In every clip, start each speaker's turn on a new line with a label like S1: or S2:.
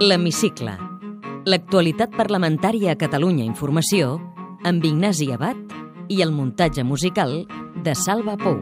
S1: L'Hemicicle. L'actualitat parlamentària a Catalunya Informació amb Ignasi Abad i el muntatge musical de Salva Pou.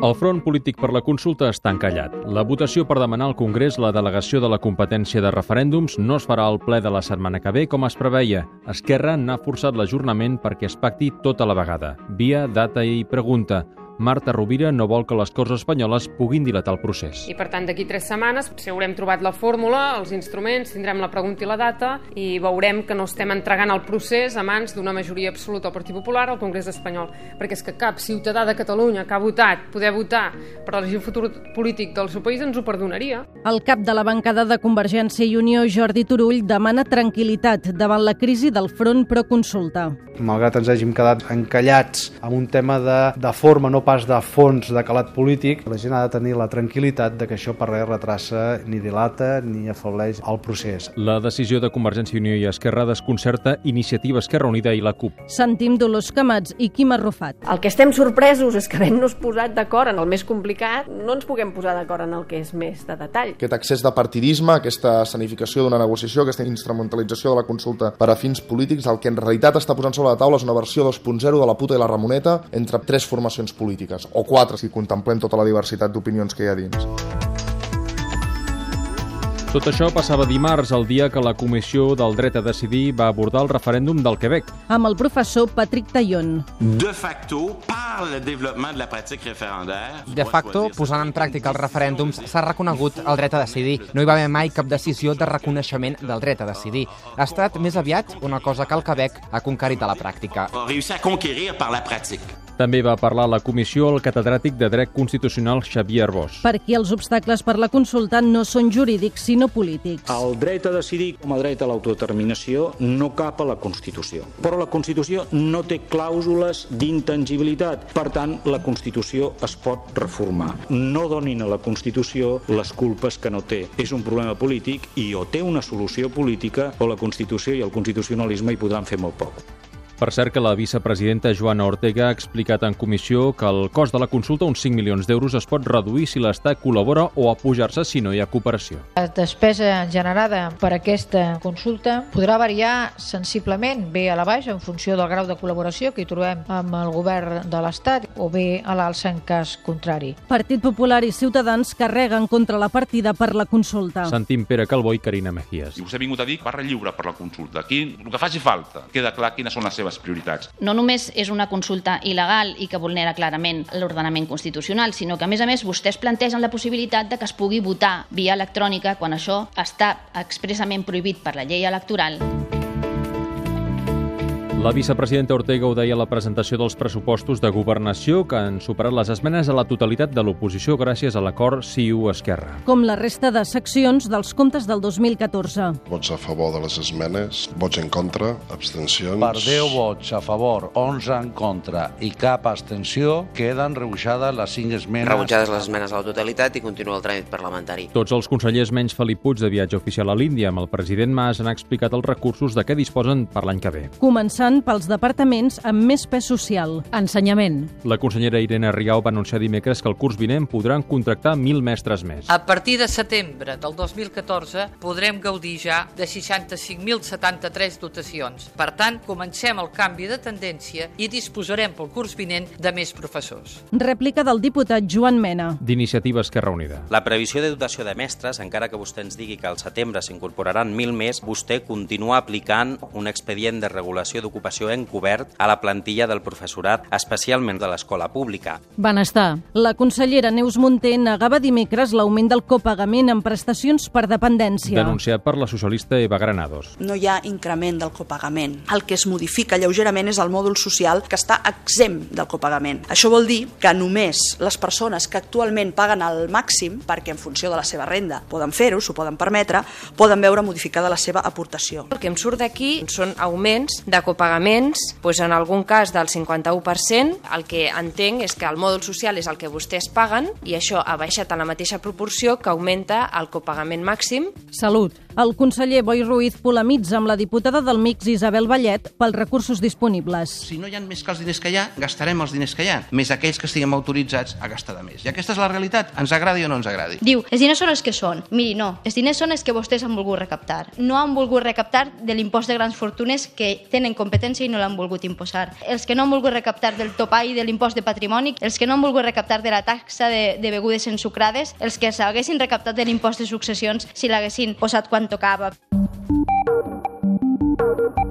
S2: El front polític per la consulta està encallat. La votació per demanar al Congrés la delegació de la competència de referèndums no es farà al ple de la setmana que ve com es preveia. Esquerra n'ha forçat l'ajornament perquè es pacti tota la vegada, via data i pregunta. Marta Rovira no vol que les Corts espanyoles puguin dilatar el procés.
S3: I per tant, d'aquí tres setmanes potser haurem trobat la fórmula, els instruments, tindrem la pregunta i la data i veurem que no estem entregant el procés a mans d'una majoria absoluta al Partit Popular al Congrés espanyol. Perquè és que cap ciutadà de Catalunya que ha votat poder votar per elegir el futur polític del seu país ens ho perdonaria.
S4: El cap de la bancada de Convergència i Unió, Jordi Turull, demana tranquil·litat davant la crisi del front proconsulta.
S5: Malgrat ens hàgim quedat encallats amb un tema de, de forma, no pas de fons de calat polític, la gent ha de tenir la tranquil·litat de que això per res retrassa ni dilata ni afebleix el procés.
S2: La decisió de Convergència i Unió i Esquerra desconcerta Iniciativa Esquerra Unida i la CUP.
S4: Sentim Dolors Camats i Quim Arrufat.
S6: El que estem sorpresos és que havent-nos posat d'acord en el més complicat, no ens puguem posar d'acord en el que és més de detall.
S7: Aquest excés de partidisme, aquesta escenificació d'una negociació, aquesta instrumentalització de la consulta per a fins polítics, el que en realitat està posant sobre la taula és una versió 2.0 de la puta i la Ramoneta entre tres formacions polítiques polítiques, o quatre si contemplem tota la diversitat d'opinions que hi ha dins.
S2: Tot això passava dimarts, el dia que la Comissió del Dret a Decidir va abordar el referèndum del Quebec.
S4: Amb el professor Patrick Taillon.
S8: De facto, par le développement de la pratique référendaire...
S9: De facto, posant en pràctica els referèndums, s'ha reconegut el dret a decidir. No hi va haver mai cap decisió de reconeixement del dret a decidir. Ha estat més aviat una cosa que el Quebec ha conquerit a la pràctica.
S8: Ha réussi a conquerir per la pràctica.
S2: També va parlar a la comissió el catedràtic de Dret Constitucional Xavier Arbós.
S4: Per qui els obstacles per la consulta no són jurídics, sinó polítics.
S10: El dret a decidir com a dret a l'autodeterminació no cap a la Constitució. Però la Constitució no té clàusules d'intangibilitat. Per tant, la Constitució es pot reformar. No donin a la Constitució les culpes que no té. És un problema polític i o té una solució política o la Constitució i el constitucionalisme hi podran fer molt poc.
S2: Per cert que la vicepresidenta Joana Ortega ha explicat en comissió que el cost de la consulta, uns 5 milions d'euros, es pot reduir si l'Estat col·labora o apujar-se si no hi ha cooperació.
S11: La despesa generada per aquesta consulta podrà variar sensiblement, bé a la baixa en funció del grau de col·laboració que hi trobem amb el govern de l'Estat o bé a l'alça en cas contrari.
S4: Partit Popular i Ciutadans carreguen contra la partida per la consulta.
S2: Sentim Pere Calbó i Carina Mejías.
S12: I us he vingut a dir barra lliure per la consulta. Aquí, el que faci falta, queda clar quines són les seves seves prioritats.
S13: No només és una consulta il·legal i que vulnera clarament l'ordenament constitucional, sinó que, a més a més, vostès plantegen la possibilitat de que es pugui votar via electrònica quan això està expressament prohibit per la llei electoral.
S2: La vicepresidenta Ortega ho deia a la presentació dels pressupostos de governació que han superat les esmenes a la totalitat de l'oposició gràcies a l'acord CiU-Esquerra.
S4: Com la resta de seccions dels comptes del 2014.
S14: Vots a favor de les esmenes, vots en contra,
S7: Doncs-
S14: abstencions...
S15: Per 10 vots a favor, 11 en contra i cap abstenció, queden rebutjades les 5 esmenes...
S16: Rebutjades les esmenes a la totalitat i continua el tràmit parlamentari.
S2: Tots els consellers menys Felip Puig de viatge oficial a l'Índia amb el president Mas han explicat els recursos de què disposen per l'any que ve.
S4: Començant passant pels departaments amb més pes social.
S17: Ensenyament.
S2: La consellera Irene Riau va anunciar dimecres que el curs vinent podran contractar 1.000 mestres més.
S18: A partir de setembre del 2014 podrem gaudir ja de 65.073 dotacions. Per tant, comencem el canvi de tendència i disposarem pel curs vinent de més professors.
S4: Rèplica del diputat Joan Mena.
S2: D'Iniciativa Esquerra Unida.
S19: La previsió de dotació de mestres, encara que vostè ens digui que al setembre s'incorporaran 1.000 més, vostè continua aplicant un expedient de regulació d'ocupació ocupació encobert a la plantilla del professorat, especialment de l'escola pública.
S17: Benestar.
S4: La consellera Neus Monté negava dimecres l'augment del copagament en prestacions per dependència.
S2: Denunciat per la socialista Eva Granados.
S20: No hi ha increment del copagament. El que es modifica lleugerament és el mòdul social que està exempt del copagament. Això vol dir que només les persones que actualment paguen al màxim, perquè en funció de la seva renda poden fer-ho, s'ho poden permetre, poden veure modificada la seva aportació.
S4: El que em surt d'aquí són augments de copagament
S3: pagaments, doncs en algun cas del 51%, el que entenc és que el mòdul social és el que vostès paguen i això ha baixat en la mateixa proporció que augmenta el copagament màxim.
S4: Salut. El conseller Boi Ruiz polemitza amb la diputada del MIX Isabel Vallet pels recursos disponibles.
S21: Si no hi ha més que els diners que hi ha, gastarem els diners que hi ha, més aquells que estiguem autoritzats a gastar de més. I aquesta és la realitat, ens agradi o no ens agradi.
S22: Diu, els diners són els que són. Miri, no, els diners són els que vostès han volgut recaptar. No han volgut recaptar de l'impost de grans fortunes que tenen competència i no l'han volgut imposar. Els que no han volgut recaptar del topall de l'impost de patrimoni, els que no han volgut recaptar de la taxa de, de begudes ensucrades, els que s'haguessin recaptat de l'impost de successions si l'haguessin posat quan tocava.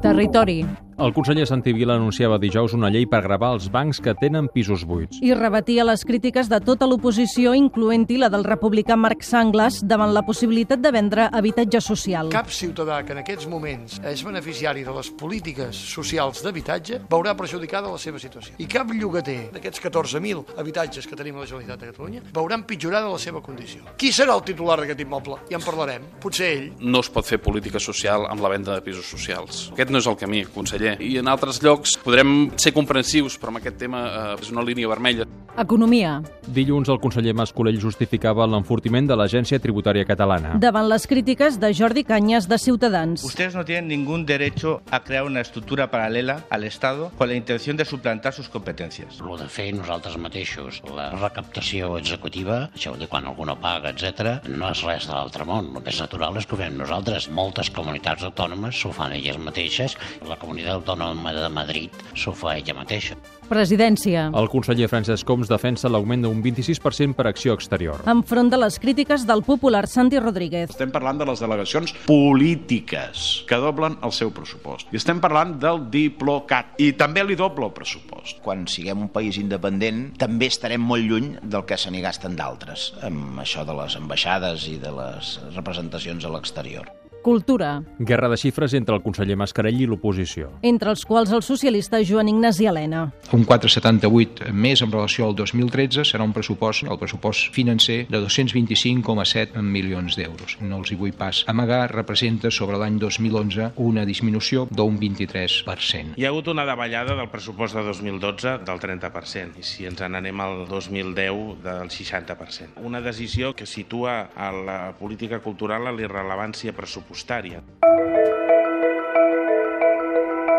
S4: Territori.
S2: El conseller Santi Vila anunciava dijous una llei per gravar els bancs que tenen pisos buits.
S4: i rebatia les crítiques de tota l'oposició, incloent-hi la del republicà Marc Sangles, davant la possibilitat de vendre habitatge social.
S23: Cap ciutadà que en aquests moments és beneficiari de les polítiques socials d'habitatge veurà perjudicada la seva situació. I cap llogater d'aquests 14.000 habitatges que tenim a la Generalitat de Catalunya veurà empitjorada la seva condició. Qui serà el titular d'aquest immoble? Ja en parlarem. Potser ell.
S24: No es pot fer política social amb la venda de pisos socials. Aquest no és el camí, conseller. I en altres llocs podrem ser comprensius, però amb aquest tema eh, és una línia vermella.
S4: Economia.
S2: Ah. Dilluns, el conseller Mascolell justificava l'enfortiment de l'Agència Tributària Catalana.
S4: Davant les crítiques de Jordi Canyes de Ciutadans.
S25: Ustedes no tienen ningún derecho a crear una estructura paralela al Estado con la intención de suplantar sus competencias.
S26: Lo de fer nosaltres mateixos la recaptació executiva, això de quan algú no paga, etc, no és res de l'altre món. El que és natural és que ho fem nosaltres. Moltes comunitats autònomes s'ho fan elles mateixes. La comunitat autònoma de Madrid s'ho fa ella mateixa.
S4: Presidència.
S2: El conseller Francesc Homs defensa l'augment d'un 26% per acció exterior.
S4: Enfront de les crítiques del popular Santi Rodríguez.
S27: Estem parlant de les delegacions polítiques que doblen el seu pressupost. I estem parlant del Diplocat. I també li dobla el pressupost.
S28: Quan siguem un país independent, també estarem molt lluny del que se n'hi gasten d'altres, amb això de les ambaixades i de les representacions a l'exterior.
S4: Cultura.
S2: Guerra de xifres entre el conseller Mascarell i l'oposició.
S4: Entre els quals el socialista Joan Ignasi Helena.
S7: un 4,78 més en relació al 2013 serà un pressupost, el pressupost financer, de 225,7 milions d'euros. No els hi vull pas amagar, representa sobre l'any 2011 una disminució d'un 23%.
S29: Hi ha hagut una davallada del pressupost de 2012 del 30% i si ens n'anem al 2010 del 60%. Una decisió que situa a la política cultural a la irrellevància pressupostària.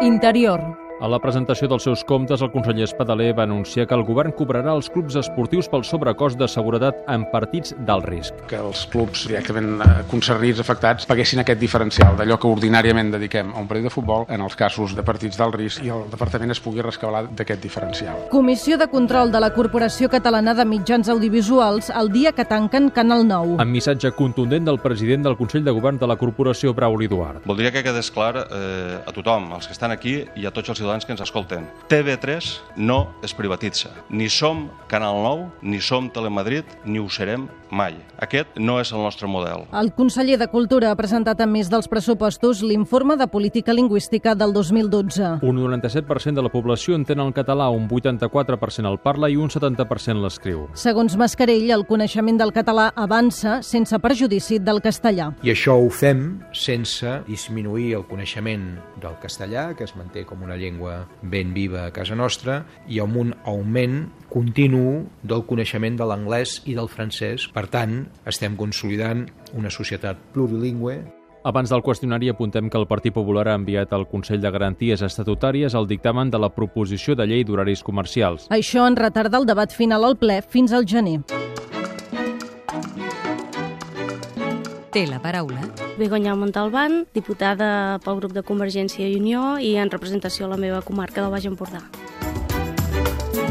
S4: Interior.
S2: A la presentació dels seus comptes, el conseller Espadaler va anunciar que el govern cobrarà als clubs esportius pel sobrecost de seguretat en partits d'alt risc.
S5: que els clubs directament eh, concernits, afectats, paguessin aquest diferencial d'allò que ordinàriament dediquem a un partit de futbol en els casos de partits d'alt risc i el departament es pugui rescabalar d'aquest diferencial.
S4: Comissió de control de la Corporació Catalana de Mitjans Audiovisuals el dia que tanquen Canal 9.
S2: Amb missatge contundent del president del Consell de Govern de la Corporació, Brauli Duart.
S30: Voldria que quedés clar eh, a tothom, als que estan aquí i a tots els ciutadans que ens escolten. TV3 no es privatitza. Ni som Canal 9, ni som Telemadrid, ni ho serem mai. Aquest no és el nostre model.
S4: El conseller de Cultura ha presentat a més dels pressupostos l'informe de política lingüística del 2012.
S2: Un 97% de la població entén el català, un 84% el parla i un 70% l'escriu.
S4: Segons Mascarell, el coneixement del català avança sense perjudici del castellà.
S7: I això ho fem sense disminuir el coneixement del castellà, que es manté com una llengua ben viva a casa nostra, i amb un augment continu del coneixement de l'anglès i del francès. Per tant, estem consolidant una societat plurilingüe
S2: Abans del qüestionari apuntem que el Partit Popular ha enviat al Consell de Garanties Estatutàries el dictamen de la proposició de llei d'horaris comercials.
S4: Això en retarda el debat final al ple fins al gener.
S1: Té la paraula
S31: Begoña Montalbán, diputada pel grup de Convergència i Unió i en representació a la meva comarca del Baix Empordà.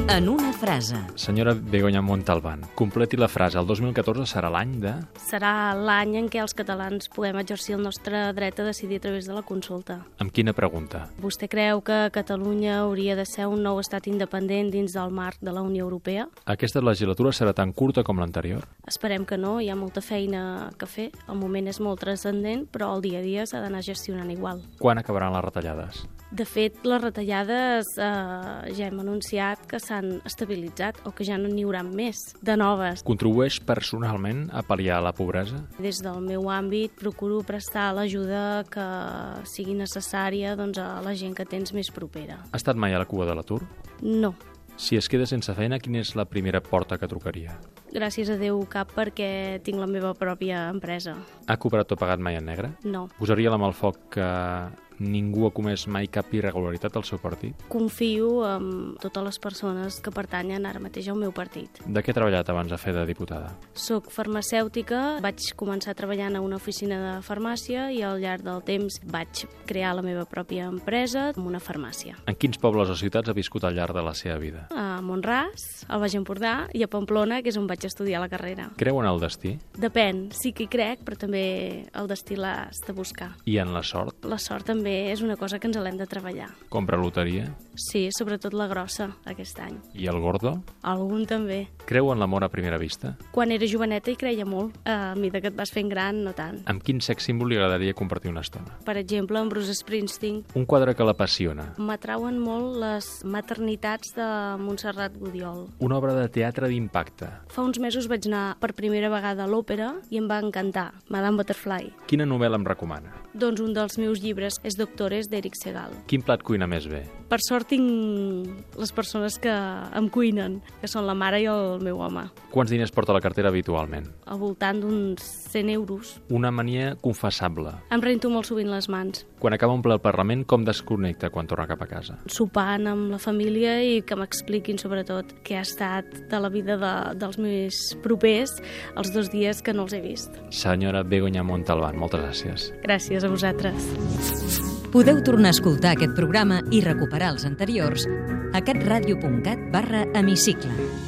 S1: en una frase.
S32: Senyora Begoña Montalbán, completi la frase. El 2014 serà l'any de...
S31: Serà l'any en què els catalans podem exercir el nostre dret a decidir a través de la consulta.
S32: Amb quina pregunta?
S31: Vostè creu que Catalunya hauria de ser un nou estat independent dins del marc de la Unió Europea?
S32: Aquesta legislatura serà tan curta com l'anterior?
S31: Esperem que no, hi ha molta feina que fer. El moment és molt transcendent, però el dia a dia s'ha d'anar gestionant igual.
S32: Quan acabaran les retallades?
S31: De fet, les retallades eh, ja hem anunciat que s'han s'han estabilitzat o que ja no n'hi haurà més de noves.
S2: Contribueix personalment a pal·liar la pobresa?
S31: Des del meu àmbit procuro prestar l'ajuda que sigui necessària doncs, a la gent que tens més propera.
S2: Ha estat mai a la cua de l'atur?
S31: No,
S2: Si es queda sense feina, quina és la primera porta que trucaria?
S31: gràcies a Déu cap perquè tinc la meva pròpia empresa.
S2: Ha cobrat o pagat mai en negre?
S31: No.
S2: Posaria la mà al foc que ningú ha comès mai cap irregularitat al seu partit?
S31: Confio en totes les persones que pertanyen ara mateix al meu partit.
S2: De què ha treballat abans de fer de diputada?
S31: Soc farmacèutica, vaig començar treballant a una oficina de farmàcia i al llarg del temps vaig crear la meva pròpia empresa amb una farmàcia.
S2: En quins pobles o ciutats ha viscut al llarg de la seva vida?
S31: A Montràs, al Baix Empordà i a Pamplona, que és on vaig estudiar la carrera.
S2: Creu en el destí
S31: Depèn, sí que hi crec, però també el destí l'has de buscar.
S2: i en la sort?
S31: La sort també és una cosa que ens l'hem de treballar.
S2: Compra loteria
S31: Sí, sobretot la grossa, aquest any.
S2: i el gordo?
S31: Algun també.
S2: Creu en l'amor a primera vista?
S31: Quan era joveneta hi creia molt, Eh, a mesura que et vas fent gran, no tant.
S2: Amb quin sex símbol li agradaria compartir una estona?
S31: Per exemple, en Bruce Springsteen
S2: Un quadre que l'apassiona.
S31: m'atrauen molt les maternitats de Montserrat Godiol.
S2: Una obra de teatre d'impacte.
S31: Fa uns mesos vaig anar per primera vegada a l'òpera i em va encantar, Madame Butterfly.
S2: Quina novel·la em recomana?
S31: Doncs un dels meus llibres és Doctores d'Eric Segal.
S2: Quin plat cuina més bé?
S31: Per sort tinc les persones que em cuinen, que són la mare i el meu home,
S2: Quants diners porta a la cartera habitualment?
S31: al voltant d'uns 100 euros.
S2: Una mania confessable.
S31: Em rento molt sovint les mans,
S2: Quan acaba un ple al Parlament, com desconnecta quan torna cap a casa?
S31: sopant amb la família i que m'expliquin sobretot què ha estat de la vida de, dels més propers els dos dies que no els he vist.
S2: Senyora Begoña Montalbán, moltes gràcies.
S31: Gràcies a vosaltres.
S1: Podeu tornar a escoltar aquest programa i recuperar els anteriors a catradio.cat barra hemicicle.